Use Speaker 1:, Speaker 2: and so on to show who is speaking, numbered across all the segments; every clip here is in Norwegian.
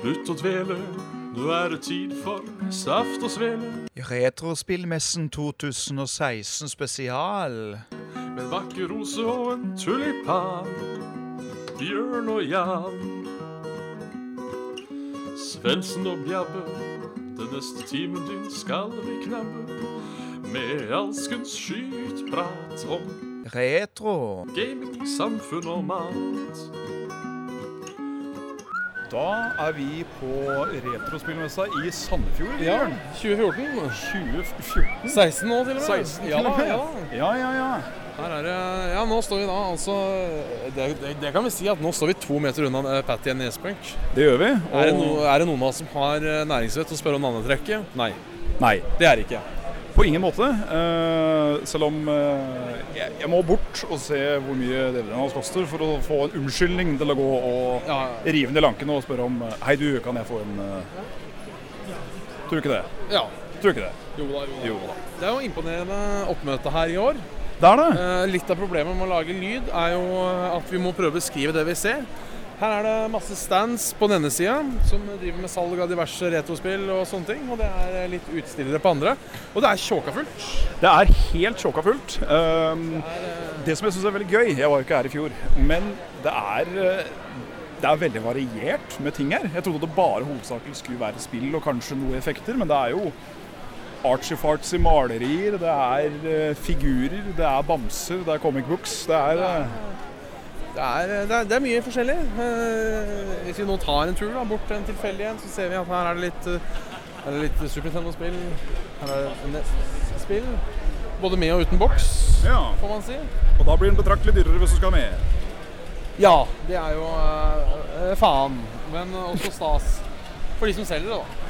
Speaker 1: Slutt å dvele, nå er det tid for saft og svele.
Speaker 2: Retrospillmessen 2016 spesial.
Speaker 1: Med en vakker rose og en tulipan. Bjørn og Jan. Svendsen og Bjabbe, den neste timen din skal vi knabbe. Med alskens skytprat om
Speaker 2: Retro.
Speaker 1: gaming, samfunn og mat.
Speaker 3: Da er vi på Retrospillmessa i Sandefjord.
Speaker 4: Ja,
Speaker 3: Jørn.
Speaker 4: 2014.
Speaker 3: 2014?
Speaker 4: 16 nå, til og med.
Speaker 3: 16
Speaker 4: ja,
Speaker 3: til og med.
Speaker 4: ja.
Speaker 3: ja, ja, ja.
Speaker 4: Her er det Ja, nå står vi da altså Det, det, det kan vi si at nå står vi to meter unna eh, Patty and Nesbrunk.
Speaker 3: Det gjør vi.
Speaker 4: Er, det no, er det noen av oss som har eh, næringsvett og spør om navnetrekket? Nei,
Speaker 3: Nei,
Speaker 4: det er det ikke.
Speaker 3: på ingen måte. Eh, selv om eh, jeg, jeg må bort og se hvor mye DVD-en hans koster for å få en unnskyldning til å gå og
Speaker 4: Ja,
Speaker 3: rive ned lankene og spørre om eh, Hei du, kan jeg få en eh, Tror ikke det.
Speaker 4: ja.
Speaker 3: Tror ikke det.
Speaker 4: Jo da, jo da.
Speaker 3: Jo da.
Speaker 4: Det er jo imponerende oppmøte her i år.
Speaker 3: Det er det.
Speaker 4: Eh, Litt av problemet med å lage lyd er jo eh, at vi må prøve å beskrive det vi ser. Her er det masse stands på denne sida som driver med salg av diverse retrospill og sånne ting. Og det er eh, litt utstillere på andre. Og det er tjåkafullt.
Speaker 3: Det er helt sjokka fullt. Ehm, Det som jeg syns er veldig gøy, jeg var jo ikke her i fjor, men det er, eh, det er veldig variert med ting her. Jeg trodde det bare hovedsakelig skulle være spill og kanskje noe effekter, men det er jo archie-farts i malerier, det er eh, figurer, det er bamser, det er comic books. Det er eh,
Speaker 4: Det er, det, er, det er mye forskjellig. Eh, hvis vi nå tar en tur da, bort til en tilfeldig en, så ser vi at her er det litt, eh, er det litt Super Nintendo-spill. Her er det NES-spill. Både med og uten boks,
Speaker 3: Ja,
Speaker 4: får man si.
Speaker 3: og da blir den betraktelig dyrere hvis du skal med.
Speaker 4: Ja, det er jo eh, eh, faen. Men også stas for de som selger det, da.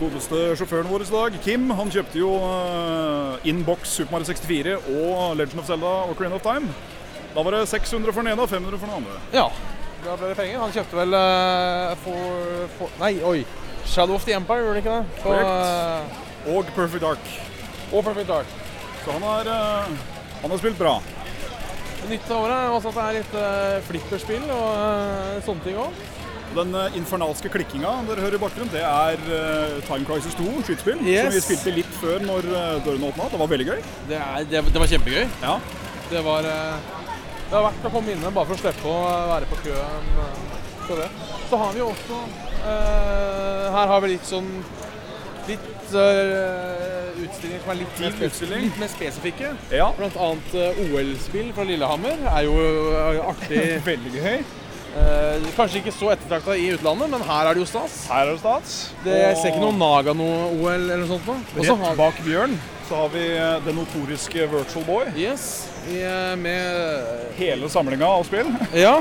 Speaker 3: Godeste sjåføren vår i dag, Kim, han kjøpte jo uh, Inbox Super Mario 64 og Legend of Zelda og Crane of Time. Da var det 600 for den ene og 500 for den andre.
Speaker 4: Ja. Da ble det penger. Han kjøpte vel eh, for, for Nei, oi. Shadow of the Empire, gjorde det ikke det? På,
Speaker 3: Korrekt. Og Perfect Dark.
Speaker 4: eh, og Perfect Dark.
Speaker 3: Så han har, eh, han har spilt bra.
Speaker 4: Det nytt av året er også at det er litt eh, flipperspill og eh, sånne ting òg.
Speaker 3: Den eh, infernalske klikkinga dere hører i bakgrunnen, det er eh, Time Crisis 2, skytespill,
Speaker 4: Yes.
Speaker 3: som vi spilte litt før når eh, dørene åpna. Det var veldig gøy.
Speaker 4: Det, er, det, det var kjempegøy.
Speaker 3: Ja.
Speaker 4: Det var eh, Det har vært å komme inne bare for å slippe å være på køen. eh, For det. Så har vi jo også eh, Her har vi litt sånn Litt eh, utstillinger som er litt,
Speaker 3: Litt
Speaker 4: mer, spes-
Speaker 3: utstilling.
Speaker 4: litt mer spesifikke.
Speaker 3: ja.
Speaker 4: Blant annet eh, OL-spill fra Lillehammer er jo eh, artig.
Speaker 3: Veldig gøy.
Speaker 4: Eh, kanskje ikke så ettertrakta i utlandet, men her er det jo stas.
Speaker 3: Her er det stats.
Speaker 4: Det, jeg ser
Speaker 3: Og-
Speaker 4: ikke noe Nagano-OL eller noe sånt nå. Og så har
Speaker 3: Rett bak Bjørn så har vi eh, den notoriske Virtual Boy.
Speaker 4: Yes, i, eh, med eh,
Speaker 3: Hele samlinga av spill.
Speaker 4: Ja.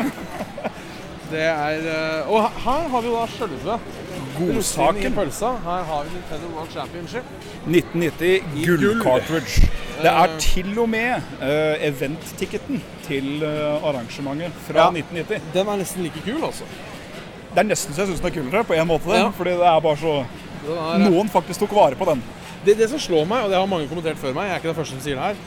Speaker 4: Det er eh, Og he- her har vi jo da sjølve rosinen i
Speaker 3: Godsaken.
Speaker 4: pølsa. Her har vi Nintendo World Championship.
Speaker 3: 1990 gull-cartridge. Det er til og med uh, event-ticketen til eh, arrangementet fra
Speaker 4: Ja.
Speaker 3: 1990.
Speaker 4: Den er nesten like kul, altså.
Speaker 3: Det er nesten så jeg syns den er kulere, på en måte.
Speaker 4: Ja.
Speaker 3: Fordi det er bare så
Speaker 4: Den er,
Speaker 3: Noen faktisk tok vare på den.
Speaker 4: det, det som slår meg, og det har mange kommentert før meg, jeg er ikke den første som sier det her,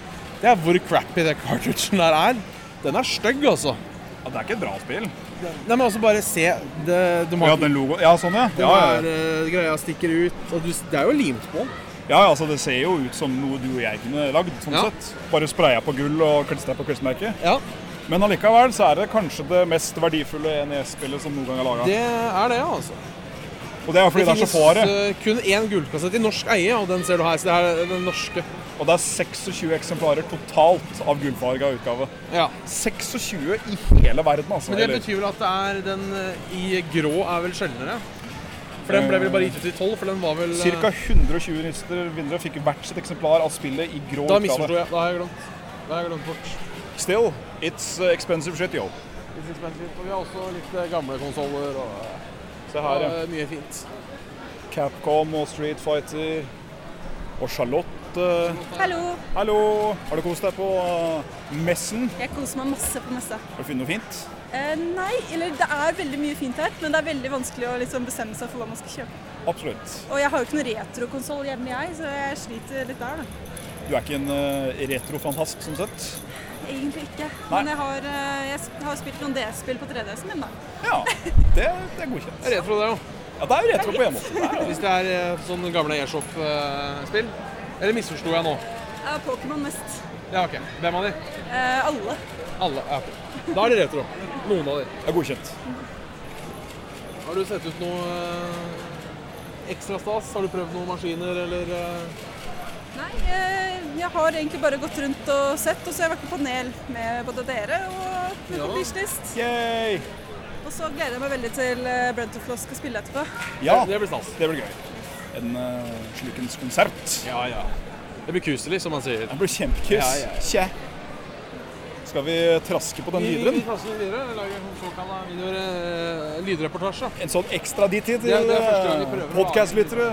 Speaker 4: det er hvor crappy den cartridgen der er. Den er stygg, altså.
Speaker 3: Ja, det er ikke et bra spill.
Speaker 4: Nei, men altså, bare se. Det, du må
Speaker 3: Ja, den logo Ja, sånn, ja. Ja, ja, ja.
Speaker 4: eh, greia stikker ut. Og du, det er jo limt på.
Speaker 3: ja altså, det ser jo ut som noe du og jeg kunne lagd, sånn
Speaker 4: Ja.
Speaker 3: sett. Bare spraya på gull og klistra på klistremerket.
Speaker 4: Ja,
Speaker 3: Men allikevel så er det kanskje det mest verdifulle NES-spillet som noen gang er laga.
Speaker 4: det er det, altså.
Speaker 3: Og det er fordi det, er så få av det.
Speaker 4: eh, kun én gullkassett i norsk eie, og den ser du her. Så det er den norske.
Speaker 3: Og det er 26 eksemplarer totalt av gullfarga utgave.
Speaker 4: Ja.
Speaker 3: 26 i hele verden, altså.
Speaker 4: Men det
Speaker 3: Eller-
Speaker 4: betyr vel at det er den eh, i grå er vel sjeldnere? For den ble vel bare gitt ut i tolv, for den var vel eh,
Speaker 3: Cirka 120 jurister vinnere fikk hvert sitt eksemplar av spillet i grå
Speaker 4: Da
Speaker 3: utgave.
Speaker 4: misforsto jeg. Da har jeg glemt. Da har jeg glemt bort.
Speaker 3: Still, it's uh, expensive shit, yo.
Speaker 4: Litt expensive, Og vi har også litt eh, gamle konsoller og eh,
Speaker 3: Se her, ja.
Speaker 4: eh, mye fint.
Speaker 3: Capcom og Street Fighter og Charlotte.
Speaker 5: Hallo,
Speaker 3: Hallo! Har du kost deg på uh, messen?
Speaker 5: jeg koser meg masse på messa.
Speaker 3: Har du funnet noe fint?
Speaker 5: Eh, nei, eller det er veldig mye fint her, men det er veldig vanskelig å liksom bestemme seg for hva man skal kjøpe.
Speaker 3: Absolutt.
Speaker 5: Og jeg har jo ikke noen retrokonsoll hjemme, jeg, så jeg sliter litt der, da.
Speaker 3: Du er ikke en uh, retrofantast, som sett?
Speaker 5: Egentlig ikke.
Speaker 3: Nei.
Speaker 5: Men jeg har, eh, jeg s- har spilt noen DS-spill på 3DS-en min, da.
Speaker 3: Ja, det, det er godkjent.
Speaker 4: Jeg er redd for det, jo.
Speaker 3: Ja, det er jo retro på en måte. Det er jo-
Speaker 4: Hvis det er eh, sånne gamle Airshop-spill? Eller misforsto jeg nå?
Speaker 5: Ja, Pokémon mest.
Speaker 4: Ja, ok. Hvem av de?
Speaker 5: Eh, alle.
Speaker 4: Alle. Ja, ok. Da er de retro. Noen av de.
Speaker 3: Det er godkjent.
Speaker 4: Har du sett ut noe eh, ekstra stas? Har du prøvd noen maskiner, eller eh,
Speaker 5: Nei, eh, jeg har egentlig bare gått rundt og sett, og så har jeg vært på panel med både dere og min
Speaker 4: Ja.
Speaker 5: kompanislist.
Speaker 3: Yay!
Speaker 5: Og så gleder jeg meg veldig til eh, Brent og Floss skal spille etterpå.
Speaker 3: Ja,
Speaker 4: Det blir stas.
Speaker 3: det blir gøy. En uh, slikens konsert.
Speaker 4: Ja, ja. Det blir kuselig, som man sier.
Speaker 3: Det blir kjempekus.
Speaker 4: Ja, ja.
Speaker 3: Tje. Skal vi traske på den
Speaker 4: Vi-
Speaker 3: videre?
Speaker 4: Vi kaster videre. Vi lager en sånn såkalla videoer, eh, lydreportasje.
Speaker 3: En sånn ekstra dit eh, til
Speaker 4: Det er- det er første gang vi prøver å ha-
Speaker 3: podkastlyttere?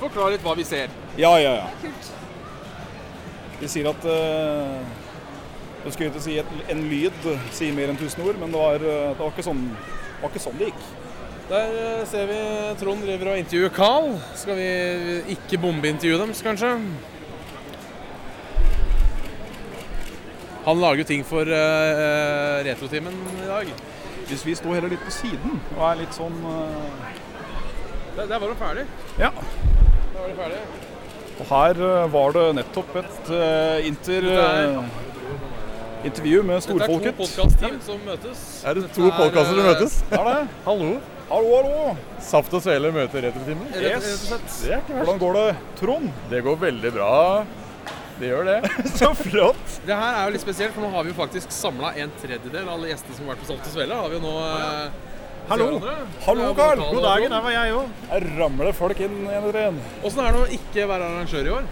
Speaker 4: Forklar litt hva vi ser.
Speaker 3: Ja, ja, ja.
Speaker 5: Kult.
Speaker 3: De sier at eh, Jeg skulle ikke si et, en lyd sier mer enn tusen ord, men det var, eh, det var, ikke, sånn, det var ikke sånn det gikk.
Speaker 4: Der eh, ser vi Trond driver og intervjuer Carl. Skal vi ikke bombeintervjue dem, kanskje? Han lager jo ting for eh, retrotimen i dag.
Speaker 3: Hvis vi står heller litt på siden og er litt sånn eh,
Speaker 4: Der, der var de ferdig.
Speaker 3: Ja.
Speaker 4: Der var de ferdig.
Speaker 3: Og her eh, var det nettopp et eh, inter,
Speaker 4: Dette er-
Speaker 3: eh, intervju med
Speaker 4: Dette er to
Speaker 3: storfolket.
Speaker 4: podkast-team som møtes.
Speaker 6: Er det
Speaker 4: Dette
Speaker 6: to podkaster som
Speaker 4: eh,
Speaker 6: møtes?
Speaker 3: Er det?
Speaker 6: Hallo!
Speaker 3: Hallo, hallo!
Speaker 6: Saft og Svele møter Retrotimen.
Speaker 4: Rett, rett og slett.
Speaker 6: Det er ikke verst.
Speaker 3: Hvordan går det, Trond?
Speaker 6: Det går veldig bra. Det gjør det.
Speaker 3: Så flott!
Speaker 4: Det her er jo litt spesielt, for nå har vi jo faktisk samla en tredjedel av alle gjestene som har vært på Salt og Svele. har vi jo nå... eh,
Speaker 6: Hallo.
Speaker 4: til hverandre.
Speaker 3: Hallo, Carl!
Speaker 6: God dagen, her var jeg òg.
Speaker 3: Her ramler det folk inn en etter en.
Speaker 4: Åssen er det å ikke være arrangør i år?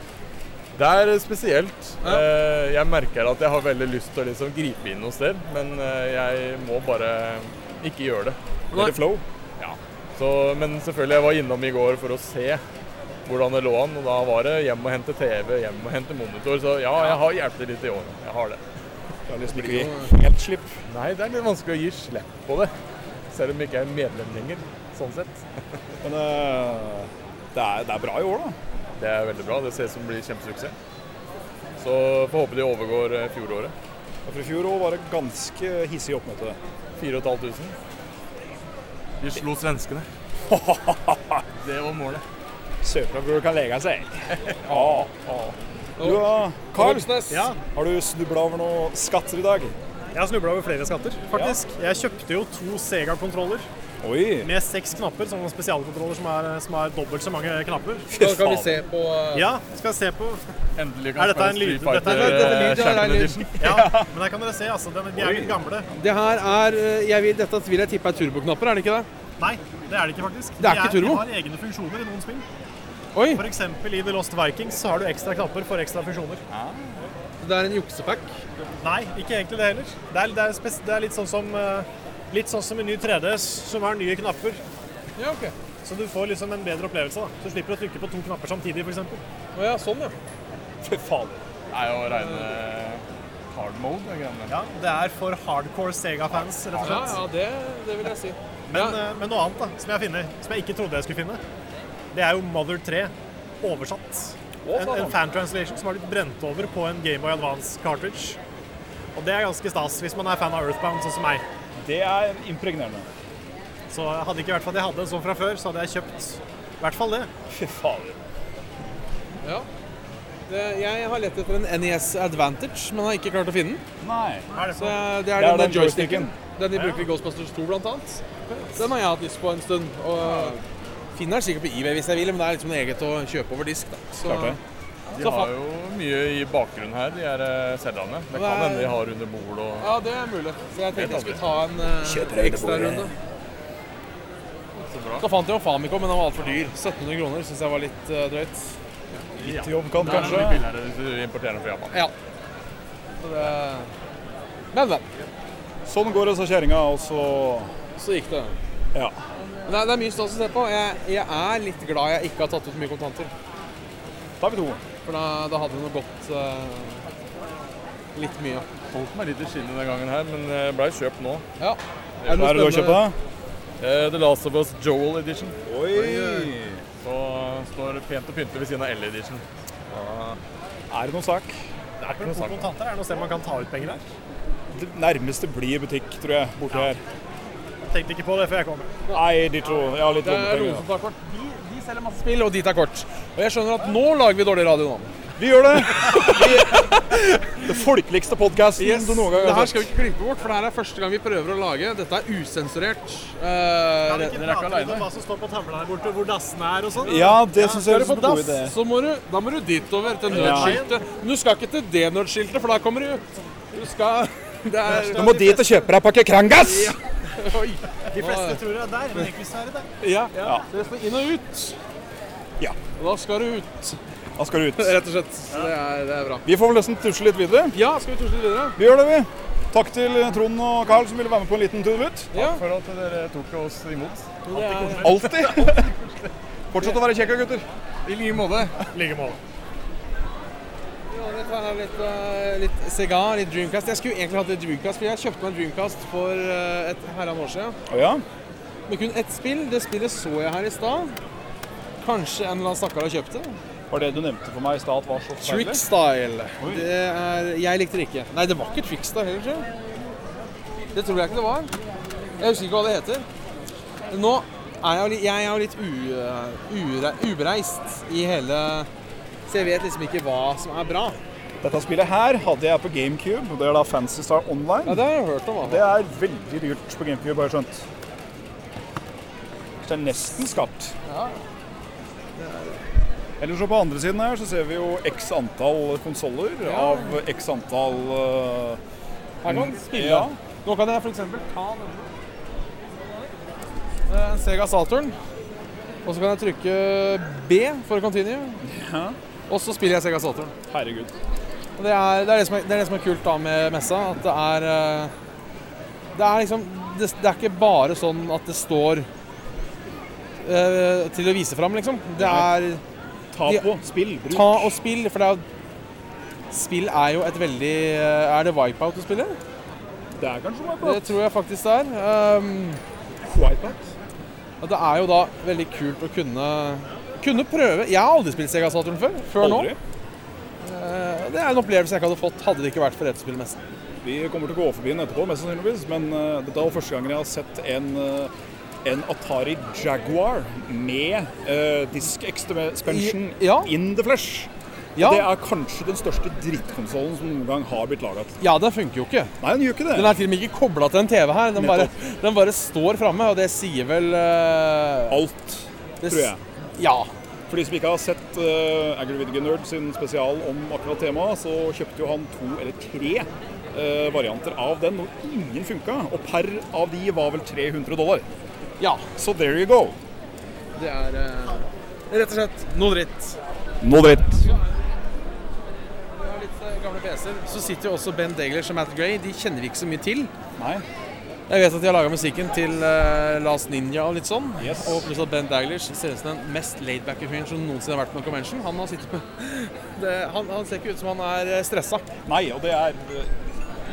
Speaker 6: Det er spesielt.
Speaker 4: Ja.
Speaker 6: Eh, Jeg merker at jeg har veldig lyst til å liksom gripe inn noe sted, men eh, jeg må bare ikke gjøre det.
Speaker 3: Veldig flow.
Speaker 6: Så, men selvfølgelig, jeg var innom i går for å se hvordan det lå an, og da var det hjem og hente TV, hjem og hente monitor. Så ja, jeg har hjulpet litt i år. Jeg har det.
Speaker 3: Det er liksom ikke helt slipp.
Speaker 6: Nei, det er litt vanskelig å gi slipp på det. Selv om jeg ikke er medlem lenger, sånn sett.
Speaker 3: Men eh, det, er, det er bra i år, da.
Speaker 6: Det er veldig bra. Det ser ut som det blir kjempesuksess. Så får håpe de overgår eh, fjoråret.
Speaker 3: Og For i fjor også var det ganske hissig oppmøte.
Speaker 6: 4500. De slo svenskene. Det var målet.
Speaker 3: Sørfra-bror kan legge seg. Ja. Du da, Carl?
Speaker 4: Voksnes.
Speaker 7: Ja,
Speaker 3: Har du snubla over noen skatter i dag?
Speaker 7: jeg har snubla over flere skatter, faktisk. Jeg kjøpte jo to Sega-kontroller
Speaker 3: Oi!
Speaker 7: med seks knapper, sånne spesialkontroller som er, som er dobbelt så mange knapper.
Speaker 4: Da kan vi se på eh,
Speaker 7: Ja, skal jeg se på
Speaker 6: Endelig
Speaker 7: Er
Speaker 6: kan
Speaker 7: dette en
Speaker 6: spille
Speaker 7: lyd?
Speaker 6: Street Fighter,
Speaker 7: Dette er-
Speaker 4: dette er lyd, ja,
Speaker 6: eh, Champion
Speaker 4: det er lyd.
Speaker 6: Edition.
Speaker 7: Ja, men der kan dere se, altså. De, de er litt gamle.
Speaker 4: Det her er eh, jeg vil, Dette vil jeg tippe er turboknapper, er det ikke det?
Speaker 7: Nei, det er det ikke, faktisk.
Speaker 4: Det er ikke
Speaker 7: de,
Speaker 4: turbo?
Speaker 7: de har egne funksjoner i noen spill.
Speaker 4: Oi,
Speaker 7: F.eks. i The Lost Vikings så har du ekstra knapper for ekstra funksjoner.
Speaker 4: det er en juksepack.
Speaker 7: Nei, ikke egentlig det heller. Det er, det er, spes det er litt sånn som eh, Litt sånn som i ny 3DS, som har nye knapper.
Speaker 4: Ja, ok.
Speaker 7: Så du får liksom en bedre opplevelse. da. Du slipper å trykke på to knapper samtidig, f.eks.
Speaker 4: Å ja, sånn, ja.
Speaker 3: Fy faen.
Speaker 6: Det er jo reine hard mode, de greiene der.
Speaker 7: Ja, det er for hardcore Sega-fans, rett og
Speaker 4: Ja,
Speaker 7: slett.
Speaker 4: ja, det, det vil jeg si.
Speaker 7: Men,
Speaker 4: ja.
Speaker 7: eh, men noe annet da, som jeg finner, som jeg ikke trodde jeg skulle finne, det er jo Mother 3 oversatt. En, en fan-translation som har blitt brent over på en Game Boy Advance-cartridge. Og det er ganske stas hvis man er fan av Earthbound, sånn som meg.
Speaker 3: Det er impregnerende.
Speaker 7: Så hadde ikke vært for at jeg hadde en sånn fra før, så hadde jeg kjøpt i hvert fall det.
Speaker 3: Fy fader.
Speaker 4: Ja. Det, jeg har lett etter en NES Advantage, men har ikke klart å finne den.
Speaker 3: Nei.
Speaker 7: Hva er det
Speaker 4: Så
Speaker 7: for noe?
Speaker 4: jeg- det sånn? er,
Speaker 3: Det
Speaker 4: den,
Speaker 3: er den
Speaker 4: den joysticken.
Speaker 3: joysticken.
Speaker 4: Den de bruker i Ghostbusters 2, blant annet. Den har jeg hatt lyst på en stund. Og finner den sikkert på eBay hvis jeg vil, men det er liksom noe eget å kjøpe over disk. da. Så,
Speaker 3: Klart det.
Speaker 6: De
Speaker 4: Så
Speaker 6: har
Speaker 4: fa-
Speaker 6: jo mye i bakgrunnen her, de her eh, Zeldaene. Det
Speaker 4: Det
Speaker 6: kan
Speaker 4: er-
Speaker 6: hende de har under bord og
Speaker 4: ja, det er mulig. Så jeg tenkte jeg skulle ta en
Speaker 3: Kjøper
Speaker 4: uh,
Speaker 3: hele
Speaker 4: ekstrarunde.
Speaker 6: Så bra.
Speaker 4: Da fant jeg jo Famicom, men den var altfor dyr. 1700 kroner syns jeg var litt eh, drøyt.
Speaker 3: Litt i overkant,
Speaker 6: Det er mye
Speaker 3: kanskje.
Speaker 6: billigere hvis du importerer den fra Japan.
Speaker 4: Ja. Så det... Men, men.
Speaker 3: Sånn går det, sa kjerringa, og så
Speaker 4: Så gikk det.
Speaker 3: Ja.
Speaker 4: Men det, er- det er mye stas å se på. Jeg, jeg er litt glad jeg ikke har tatt ut mye kontanter.
Speaker 3: Da er vi to.
Speaker 4: For da, da hadde det nok gått eh, litt mye.
Speaker 6: Holdt meg litt i skinnet denne gangen her, men eh, blei kjøpt nå.
Speaker 4: Ja.
Speaker 3: Hva er det du har kjøpt, da?
Speaker 6: Eh, The Last of Us Joel Edition.
Speaker 3: Oi!
Speaker 6: Så står det pent og pyntelig ved siden av L Edition.
Speaker 3: Er det noen sak?
Speaker 7: Det er ikke noe sak. Kontanter er det noe sted man kan ta ut penger her.
Speaker 3: Det nærmeste blir butikk, tror jeg, borti her.
Speaker 7: Tenkte ikke på det før jeg kom.
Speaker 3: Nei, de to. Jeg har litt
Speaker 4: Det er
Speaker 3: lommepenger.
Speaker 4: Rosen eh, tar kort. De, de selger masse spill, og de tar kort. Og jeg skjønner at nå lager vi dårlig radio nå.
Speaker 3: Vi gjør det! Den folkeligste podkasten du noen gang
Speaker 4: Det
Speaker 3: har
Speaker 4: her skal vi ikke klippe bort, for det her er første gang vi prøver å lage. Dette er usensurert. Eh,
Speaker 7: Kan
Speaker 4: dere dere er ikke
Speaker 7: vi ikke prate litt om
Speaker 4: aleine.
Speaker 7: hva som står på tavla her borte, hvor dassene er og sånn?
Speaker 3: Ja, det synes
Speaker 4: Skal
Speaker 3: jeg
Speaker 4: du
Speaker 3: er
Speaker 4: på
Speaker 3: en god
Speaker 4: dass,
Speaker 3: idé.
Speaker 4: så må du, da må du dit over, til nødskiltet. Men du skal ikke til det nødskiltet, for da kommer du ut. Du skal Det er
Speaker 3: Du må dit og kjøpe deg en pakke Krangas!
Speaker 4: Oi.
Speaker 7: De fleste tror det er der, men egentlig så er det der.
Speaker 4: Ja. Så det står inn og ut.
Speaker 3: Ja.
Speaker 4: Og Da skal du ut,
Speaker 3: Da skal du ut.
Speaker 4: rett og slett. Så Det er, det er bra.
Speaker 3: Vi får vel nesten tusle litt videre.
Speaker 4: Ja, skal vi tusle videre?
Speaker 3: Vi gjør det, vi. Takk til Trond og Carl som ville være med på en liten tur ut.
Speaker 4: Ja.
Speaker 6: For at dere tok oss imot.
Speaker 4: Det er,
Speaker 3: Alltid. Fortsett å være kjekka, gutter.
Speaker 4: I like måte.
Speaker 7: Ligger mål.
Speaker 4: Ja, dette her er litt, eh, litt sigar, litt Dreamcast. Jeg skulle egentlig hatt litt Dreamcast, for jeg kjøpte meg en Dreamcast for eh, et herran år siden.
Speaker 3: Å ja?
Speaker 4: Men kun ett spill. Det spillet så jeg her i stad. Kanskje en eller annen stakkar har kjøpt det.
Speaker 3: Var det du nevnte for meg i stad, var så forferdelig?
Speaker 4: Trickstyle.
Speaker 3: Oi.
Speaker 4: Det er, jeg likte det ikke. Nei, det var ikke Trickstyle heller, tror jeg. Det tror jeg ikke det var. Jeg husker ikke hva det heter. Nå er jeg jo litt, jeg er jo litt u, eh, ure, ubereist i hele Så jeg vet liksom ikke hva som er bra.
Speaker 3: Dette spillet her hadde jeg på GameCube. og Det er da Fancy Star
Speaker 4: Ja,
Speaker 3: Online.
Speaker 4: Det har jeg hørt om.
Speaker 3: Det er veldig dyrt på GameCube, har jeg skjønt. Så det er nesten skapt.
Speaker 4: Ja.
Speaker 3: Eller så på andre siden her så ser vi jo x antall konsoller
Speaker 4: Ja.
Speaker 3: av x antall eh,
Speaker 4: Her kan man spille.
Speaker 3: Ja.
Speaker 4: Nå kan jeg for eksempel ta denne. Eh, En Sega Saturn. Og så kan jeg trykke B for å continue. Og så spiller jeg Sega Saturn.
Speaker 3: Herregud.
Speaker 4: Og det, er, det, er det, som er, det er det som er kult da med messa, at det er eh, Det er liksom Det, det er ikke bare sånn at det står eh, til å vise fram, liksom. Det er
Speaker 3: Ta
Speaker 4: Ja.
Speaker 3: på. Spill. Bruk.
Speaker 4: ta og spill, for det er jo Spill er jo et veldig eh, Er det wipeout du spiller?
Speaker 3: Det er kanskje noe
Speaker 4: Det tror jeg faktisk det er. Um,
Speaker 3: Wipeout.
Speaker 4: og det er jo da veldig kult å kunne, kunne prøve. Jeg har aldri spilt Sega Saturn før. før
Speaker 3: Aldri.
Speaker 4: nå. Eh, Det er en opplevelse jeg ikke hadde fått hadde det ikke vært for rettspillmessen.
Speaker 3: Vi kommer til å gå forbi den etterpå, mest sannsynligvis. Men eh, dette var første gangen jeg har sett en, eh, en Atari Jaguar med eh, disk expansion
Speaker 4: I- ja.
Speaker 3: in the flesh.
Speaker 4: Ja,
Speaker 3: Det er kanskje den største drittkonsollen som noen gang har blitt laga.
Speaker 4: ja, den funker jo ikke.
Speaker 3: Nei, den gjør ikke det.
Speaker 4: Den er til og med ikke kobla til en TV her. Den bare, den bare står framme, og det sier vel eh,
Speaker 3: Alt,
Speaker 4: det s-
Speaker 3: tror jeg.
Speaker 4: Ja.
Speaker 3: For de som ikke har sett uh, Angry Video Game Nerd sin spesial om akkurat temaet, så kjøpte jo han to eller tre eh, varianter av den, og ingen funka. Og per av de var vel 300 dollar.
Speaker 4: Ja.
Speaker 3: Så there you go.
Speaker 4: Det er eh, rett og slett noe dritt.
Speaker 3: Nå dritt.
Speaker 4: Vi har litt eh, gamle PC-er. Så sitter jo også Ben Daglers og Matt Gray. De kjenner vi ikke så mye til.
Speaker 3: Nei.
Speaker 4: Jeg vet at de har laga musikken til eh, Last Ninja og litt sånn.
Speaker 3: Yes.
Speaker 4: Og pluss at Ben Daglish ser ut som den mest laidbacke fyren som noensinne har vært på en convention. Han, har sittet med det, han, han ser ikke ut som han er eh, stressa.
Speaker 3: Nei, og det er eh,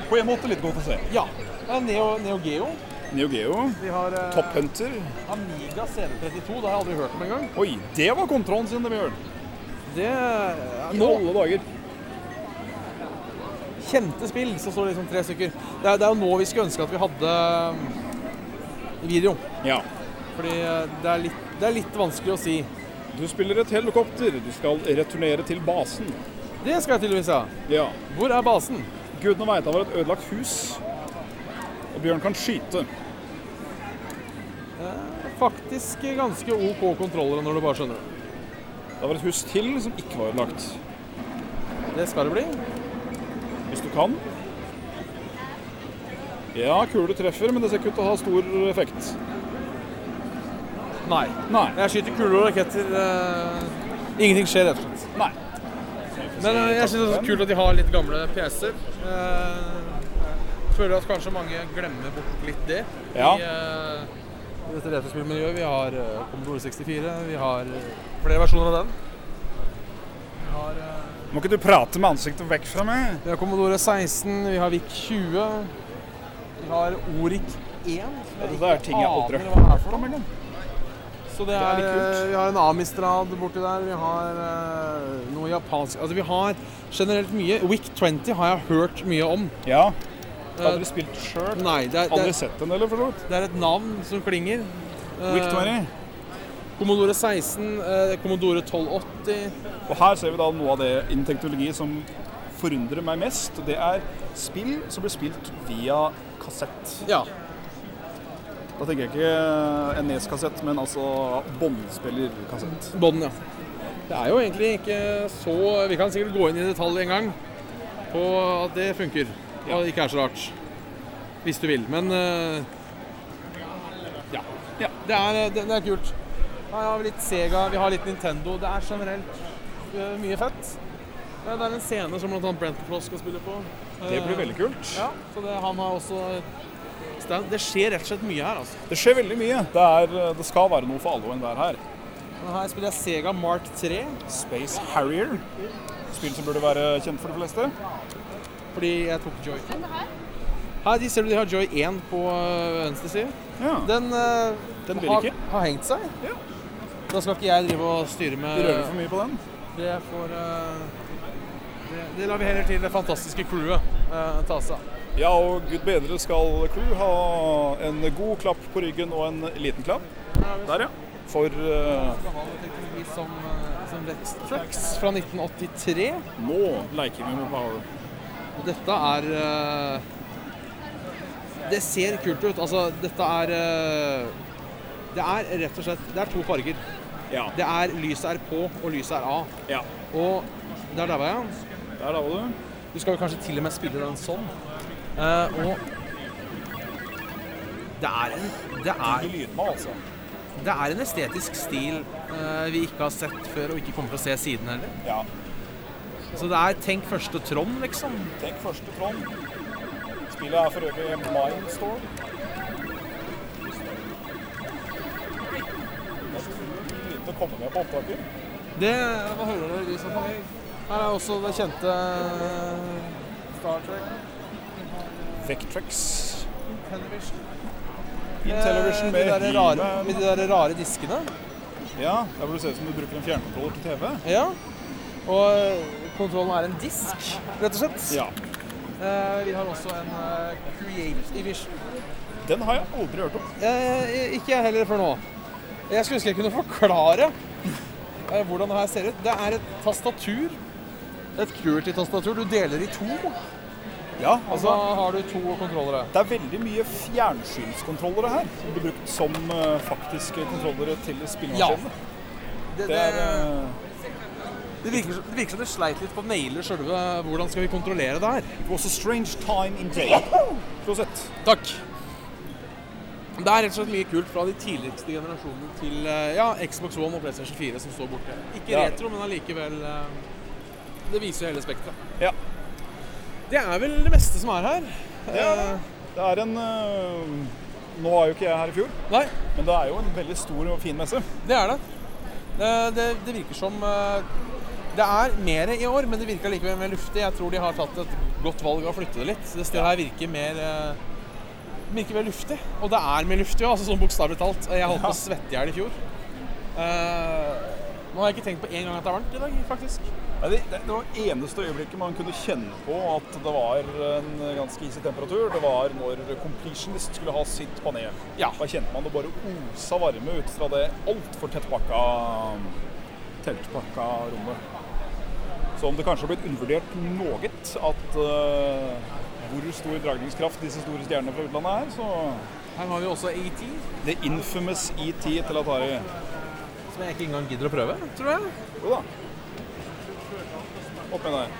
Speaker 3: på en måte litt godt å se.
Speaker 4: Ja. Det er Neo, Neo Geo.
Speaker 3: Neo Geo,
Speaker 4: Vi har eh,
Speaker 3: Top Hunter.
Speaker 4: Amiga CD32. Det har jeg aldri hørt om engang.
Speaker 3: Oi, det var kontrollen sin, de gjør.
Speaker 4: Det er
Speaker 3: I
Speaker 4: nå
Speaker 3: alle dager.
Speaker 4: kjente spill, så står det liksom tre stykker. Det er, det er jo nå vi skulle ønske at vi hadde eh, video.
Speaker 3: Ja.
Speaker 4: Fordi eh, det er litt, det er litt vanskelig å si.
Speaker 3: Du spiller et helikopter. Du skal returnere til basen.
Speaker 4: Det skal jeg tydeligvis ha.
Speaker 3: Ja.
Speaker 4: Hvor er basen?
Speaker 3: Gudene veit han var et ødelagt hus. Og Bjørn kan skyte.
Speaker 4: Faktisk ganske OK kontrollere når du bare skjønner det.
Speaker 3: Det var et hus til som ikke var ødelagt.
Speaker 4: Det skal det bli.
Speaker 3: Hvis du kan. Ja, kule treffer, men det ser ikke ut til å ha stor effekt.
Speaker 4: Nei.
Speaker 3: Nei.
Speaker 4: Jeg skyter kuler og raketter. eh, Ingenting skjer, rett og slett.
Speaker 3: Nei.
Speaker 4: Men eh, jeg syns det er kult at de har litt gamle PC-er. Eh, Føler at kanskje mange glemmer bort litt det.
Speaker 3: Ja.
Speaker 4: I, eh, i dette retrospillmiljøet. Vi har eh, Commodore 64, vi har eh, flere versjoner av den. Vi har, eh,
Speaker 3: Må ikke du prate med ansiktet vekk fra meg?
Speaker 4: vi har Commodore 16, vi har VIC 20. Vi har Oric 1. som jeg
Speaker 3: Dette er ting jeg aldri
Speaker 4: aner
Speaker 3: har
Speaker 4: hva er for noe.
Speaker 3: hørt om engang.
Speaker 4: Så det
Speaker 3: er
Speaker 4: er,
Speaker 3: litt kult.
Speaker 4: eh, Vi har en Amistrad borti der. Vi har eh, noe japansk Altså, vi har generelt mye. Wick 20 har jeg hørt mye om.
Speaker 3: Ja. Har dere spilt sjøl?
Speaker 4: Nei, det er,
Speaker 3: Aldri
Speaker 4: det,
Speaker 3: sett den, eller, for så vidt?
Speaker 4: er, det er et navn som klinger. Eh.
Speaker 3: Wick 20.
Speaker 4: Commodore 16, eh, Commodore 1280
Speaker 3: Og her ser vi da noe av det innen teknologi som forundrer meg mest. Det er spill som blir spilt via kassett.
Speaker 4: Ja.
Speaker 3: Da tenker jeg ikke eh, en NES-kassett, men altså båndspillerkassett.
Speaker 4: Bånd, ja. Det er jo egentlig ikke så Vi kan sikkert gå inn i detalj en gang på at det funker. Og det ikke er så rart. Hvis du vil. Men eh, ja.
Speaker 3: Ja.
Speaker 4: Det, er, det, det er kult. Her har vi litt Sega, vi har litt Nintendo. Det er generelt eh, mye fett. Eh, Det er en scene som bl.a. Brent Floss skal spille på. Eh,
Speaker 3: Det blir veldig kult.
Speaker 4: Ja, så det, han har også stand. Det skjer rett og slett mye her, altså.
Speaker 3: Det skjer veldig mye. Det, er, eh, det skal være noe for alle og enhver her.
Speaker 4: Men Her spiller jeg Sega Mark 3,
Speaker 3: Space Harrier. Spill som burde være kjent for de fleste.
Speaker 4: fordi jeg tok Joy. Her de ser du de har Joy 1 på øh, venstre side.
Speaker 3: Ja.
Speaker 4: Den, øh,
Speaker 3: Den vil
Speaker 4: har,
Speaker 3: ikke.
Speaker 4: har hengt seg.
Speaker 3: Ja.
Speaker 4: Da skal ikke jeg drive og styre med
Speaker 3: Rører for mye på den.
Speaker 4: Det får øh, det, det lar vi heller til det fantastiske crewet øh, ta seg av.
Speaker 3: Ja, og gud bedre skal crew ha en god klapp på ryggen og en liten klapp. Der, ja. For eh,
Speaker 4: Vi har en teknologi som, øh, som Lex Trucks fra 1983.
Speaker 3: nå leker vi med power.
Speaker 4: Dette er eh, Det ser kult ut. Altså, dette er eh, Det er rett og slett Det er to farger.
Speaker 3: Ja.
Speaker 4: Det er lyset er på, og lyset er av.
Speaker 3: ja.
Speaker 4: Og der daua jeg.
Speaker 3: Der da var du.
Speaker 4: Du skal jo kanskje til og med spille den sånn. Eh, og det er, en, det, er,
Speaker 3: Ikke lydmann, altså.
Speaker 4: det er en estetisk stil eh, vi ikke har sett før, og ikke kommer til å se siden heller.
Speaker 3: Ja.
Speaker 4: Så det er tenk første Trond, liksom.
Speaker 3: Tenk første Trond. Spillet er for øvrig Mindstorm. Lite å komme med på opptaket.
Speaker 4: Det Hva hører dere i så fall? Her er også det kjente eh, Star Trek.
Speaker 3: Vectrex.
Speaker 4: Television.
Speaker 3: Intellivision Eh, med
Speaker 4: de Eh, der rare,
Speaker 3: He-Man.
Speaker 4: Med de der rare diskene.
Speaker 3: Ja, der hvor det ser ut som du bruker en fjernkontroller til TV.
Speaker 4: Ja. Og eh, kontrollen er en disk, rett og slett.
Speaker 3: Ja.
Speaker 4: Eh, vi har også en eh, Create Evision.
Speaker 3: Den har jeg aldri hørt om.
Speaker 4: Eh, ikke jeg heller før nå. Jeg skulle ønske jeg kunne forklare eh, hvordan det her ser ut. Det er et tastatur. Et kult i tastatur. Du deler i to,
Speaker 3: Ja,
Speaker 4: og så har du to kontrollere.
Speaker 3: Det er veldig mye fjernsynskontrollere her. Som blir brukt som eh, faktiske kontrollere til spillemaskinene.
Speaker 4: Det,
Speaker 3: Det er
Speaker 4: det-
Speaker 3: eh,
Speaker 4: Det virker, som- det virker som det sleit litt på å naile sjølve hvordan skal vi kontrollere det her.
Speaker 3: It was a strange time in day. Prosett.
Speaker 4: Takk. Det er rett og slett mye kult fra de tidligste generasjonene til eh, ja, Xbox One og PlayStation 4 som står borte. Ikke
Speaker 3: Ja.
Speaker 4: retro, men allikevel eh, Det viser jo hele spekteret.
Speaker 3: Ja.
Speaker 4: Det er vel det meste som er her. Eh,
Speaker 3: Det er en eh, Nå var jo ikke jeg her i fjor,
Speaker 4: Nei,
Speaker 3: men det er jo en veldig stor og fin messe.
Speaker 4: det er det. Eh, Det, det virker som eh, Det er mer i år, men det virker likevel mer luftig. Jeg tror de har tatt et godt valg av å flytte det litt. Det stedet her virker mer eh, virker mer luftig. Og det er mer luftig, altså sånn bokstavelig talt. Jeg holdt på å svette i hjel i fjor. Eh, nå har jeg ikke tenkt på en gang at det er varmt i dag, faktisk.
Speaker 3: Nei, Det, det, det var eneste øyeblikket man kunne kjenne på at det var en ganske hissig temperatur. Det var når completionist skulle ha sitt panel.
Speaker 4: Ja.
Speaker 3: Da kjente man det bare osa varme ut fra det altfor tettpakka teltpakka rommet. Så om det kanskje har blitt undervurdert noe at eh, hvor stor dragningskraft disse store stjernene fra utlandet er, så
Speaker 4: Her har vi også E AT,
Speaker 3: The infamous ET til Atari.
Speaker 4: som jeg ikke engang gidder å prøve, tror jeg.
Speaker 3: Jo da. Opp med deg.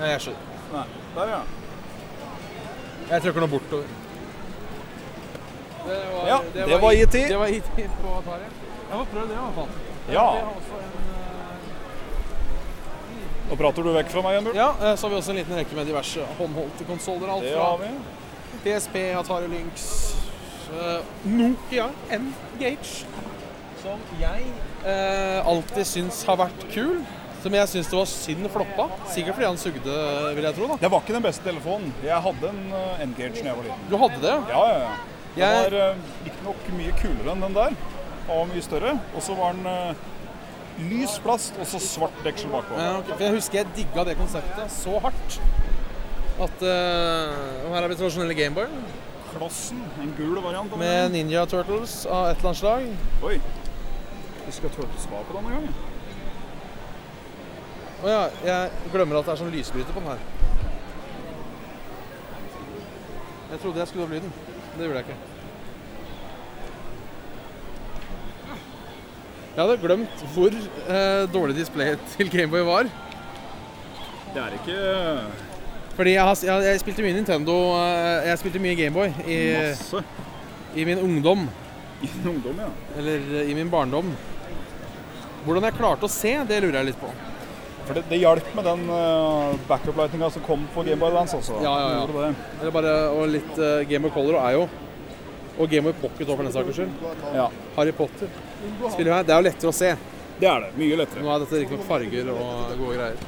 Speaker 4: Nei, jeg skjønner.
Speaker 3: Nei. Der, ja.
Speaker 4: Jeg trykker nå bortover. Det var, E
Speaker 3: Ja, det var IT.
Speaker 4: Det var IT på Atari. Jeg får prøve det, i hvert fall.
Speaker 3: Ja.
Speaker 4: Vi har også en,
Speaker 3: Nå prater du vekk fra meg, Jan Bjørn.
Speaker 4: eh, Ja, eh, så har vi også en liten rekke med diverse håndholdte konsoller. Alt
Speaker 3: Det har
Speaker 4: fra
Speaker 3: vi.
Speaker 4: PSP, Atari Lynx, eh, Nokia N-Gage, som jeg eh, alltid syns har vært kul. Som jeg syns det var synd floppa. Sikkert fordi han sugde, vil jeg tro. da.
Speaker 3: Det var ikke den beste telefonen. Jeg hadde en eh, N-Gage da jeg var liten.
Speaker 4: Du hadde det, ja?
Speaker 3: Ja, ja, ja. Den
Speaker 4: Jeg-
Speaker 3: var eh, riktignok mye kulere enn den der, og mye større. Og så var den eh, lys
Speaker 4: eh,
Speaker 3: plast og så svart deksel bakpå.
Speaker 4: Ja, ok. For jeg husker jeg digga det konseptet så hardt. at eh, og Her har vi tradisjonelle Gameboy
Speaker 3: Klossen, en gul variant. av
Speaker 4: med
Speaker 3: den.
Speaker 4: Ninja Turtles av et eller annet slag.
Speaker 3: Oi. Vi skal tørte spa på denne gangen.
Speaker 4: Å ja, jeg glemmer at det er sånn lysbryter på den her. Jeg trodde jeg skulle opp lyden. Det gjorde jeg ikke. Jeg hadde glemt hvor eh, dårlig displayet til Gameboy var.
Speaker 3: Det er ikke
Speaker 4: Fordi jeg, har, jeg, jeg spilte mye Nintendo eh, Jeg spilte mye Gameboy i,
Speaker 3: masse
Speaker 4: i min ungdom.
Speaker 3: eh, i en ungdom, ja.
Speaker 4: Eller eh, i min barndom. Hvordan jeg klarte å se, det lurer jeg litt på.
Speaker 3: For det, det hjalp med den eh, backup-lightinga som kom på Game Boy Advance også.
Speaker 4: Ja, ja, ja.
Speaker 3: Det gjorde det.
Speaker 4: Eller bare, og litt eh, Game of Color er jo Og Game of Pocket også, for den saks skyld.
Speaker 3: Ja.
Speaker 4: Harry Potter spiller jo her. Det er jo lettere å se.
Speaker 3: det er det. Mye lettere.
Speaker 4: Nå er dette riktignok farger og gode greier.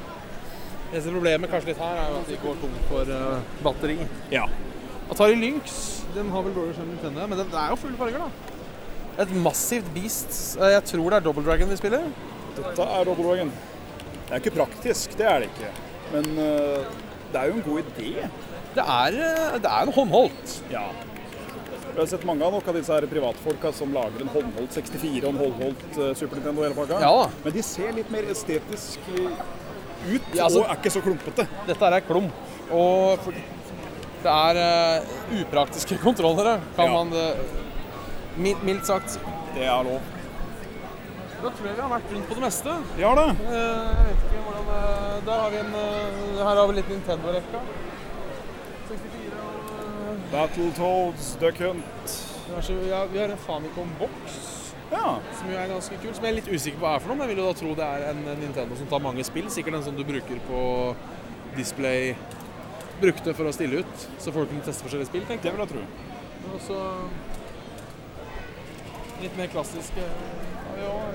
Speaker 4: Eneste problemet kanskje litt her er jo at de går tom for eh, batteri.
Speaker 3: Ja.
Speaker 4: Atari Lynx den har vel dårligere skjerm enn Nintendo, men den er jo full farger, da. Et massivt beast. Eh, Jeg tror det er Double Dragon vi spiller.
Speaker 3: Dette er Robologen. Det er ikke praktisk, det er det ikke. Men eh, det er jo en god idé.
Speaker 4: Det er, eh, det er en håndholdt.
Speaker 3: Ja. Jeg har sett mange av nok av disse her privatfolka som lager en håndholdt 64 og en håndholdt eh, Super Nintendo hele pakka.
Speaker 4: Ja da.
Speaker 3: Men de ser litt mer estetisk eh, ut
Speaker 4: Ja, altså-
Speaker 3: og er ikke så klumpete.
Speaker 4: Dette er ei klump. Og for- det er eh, upraktiske kontrollere, kan
Speaker 3: Ja.
Speaker 4: man eh, mi- mildt sagt.
Speaker 3: Det er lov.
Speaker 4: Da tror jeg vi har vært rundt på det meste.
Speaker 3: Vi har det.
Speaker 4: Eh, Jeg vet ikke hvordan eh, Der har vi en eh, Her har vi litt Nintendo-rekka. 64 og eh,
Speaker 3: Battletoads, Duck Hunt.
Speaker 4: diverse ja, altså, Vi har en Famicom-boks,
Speaker 3: Ja.
Speaker 4: som jo er ganske kul. Som jeg er litt usikker på hva er for noe, men jeg vil jo da tro det er en eh, Nintendo som tar mange spill. Sikkert den som du bruker på display Brukte for å stille ut, så folk kunne teste forskjellige spill, tenker jeg.
Speaker 3: Det vil jeg tro.
Speaker 4: Men også eh, litt mer eh, klassiske ja, ja,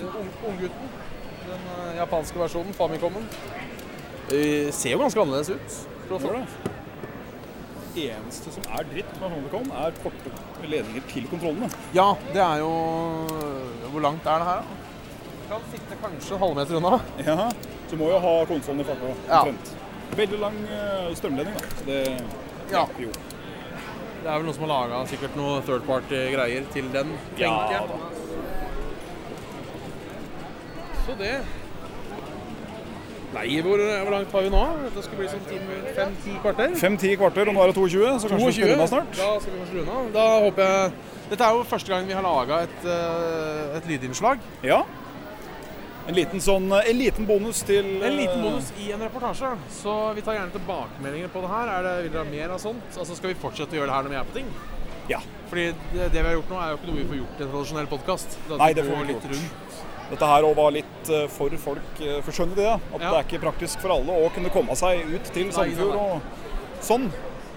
Speaker 4: eh, ung- Unggutten. Den eh, japanske versjonen, Famicomen. Eh, Ser jo ganske annerledes ut. for å få-
Speaker 3: eneste som er dritt med Honeycomb, er korte ledninger til kontrollene.
Speaker 4: Ja, det er jo Hvor langt er det her, da? Kan sitte kanskje en halvmeter unna.
Speaker 3: Ja. Så må jo ha konsollen i farta.
Speaker 4: Ja.
Speaker 3: omtrent. Veldig lang eh, strømledning, da. Så det
Speaker 4: Ja.
Speaker 3: hjelper jo.
Speaker 4: Det er vel noen som har laga sikkert noe third party-greier til den, tenker
Speaker 3: Ja,
Speaker 4: jeg. Så det Nei, hvor, hvor langt har vi nå? Det skulle bli sånn fem-ti kvarter.
Speaker 3: 5-10 kvarter, og nå er det 22, så kanskje vi skal runde av snart?
Speaker 4: Da skal vi kanskje runde av. Da håper jeg Dette er jo første gang vi har laga et, eh, et lydinnslag.
Speaker 3: Ja. En liten, sånn, en liten bonus til
Speaker 4: En liten
Speaker 3: eh,
Speaker 4: bonus i en reportasje. Så vi tar gjerne tilbakemeldinger på det her. Er det, vil dere ha mer av sånt? Altså Skal vi fortsette å gjøre det her når vi er på ting?
Speaker 3: Ja.
Speaker 4: Fordi det, det vi har gjort nå, er jo ikke noe vi får gjort i en tradisjonell podkast.
Speaker 3: Nei, det får vi ikke gjort. eh, Dette her også var litt eh, for folk. eh, For skjønner de det? At
Speaker 4: Ja.
Speaker 3: det er ikke praktisk for alle å kunne komme seg ut til
Speaker 4: Nei, nei,
Speaker 3: Sandefjord
Speaker 4: nei.
Speaker 3: og sånn.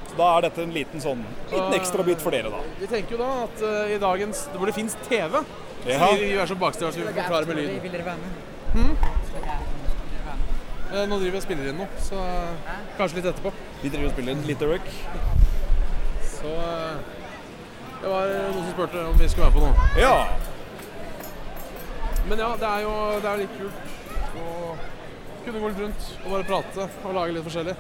Speaker 3: Så da er dette en liten sånn
Speaker 4: Ah.
Speaker 3: liten ekstra bit for dere, da.
Speaker 4: Vi tenker jo da at eh, i dagens Hvor det fins TV,
Speaker 3: Ja.
Speaker 4: så vil vi være så bakstreverske at vi vil forklare med lyden. Hm?
Speaker 8: Vil dere være med?
Speaker 4: Eh, Nå driver vi og spiller inn noe, så eh, kanskje litt etterpå.
Speaker 3: Vi driver og spiller litt Eric.
Speaker 4: Så eh, det var noen som spurte om vi skulle være på noe.
Speaker 3: Ja.
Speaker 4: Men ja, det er jo det er litt kult å kunne gå litt rundt og bare prate og lage litt forskjellig.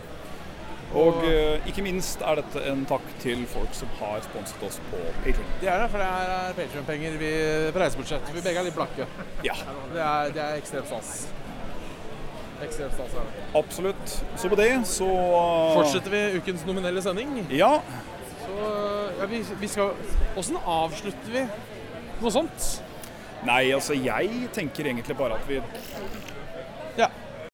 Speaker 3: Og eh, ikke minst er dette en takk til folk som har sponset oss på Patreon.
Speaker 4: Det er det, for det her er Patrion-penger på reisebudsjett. Vi begge er litt blakke.
Speaker 3: Ja,
Speaker 4: Det er, det er ekstremt stas. Ekstremt stas er det.
Speaker 3: absolutt. Så på det så eh,
Speaker 4: Fortsetter vi ukens nominelle sending,
Speaker 3: Ja.
Speaker 4: så ja, vi, vi skal Åssen avslutter vi noe sånt?
Speaker 3: Nei, altså jeg tenker egentlig bare at vi
Speaker 4: Ja.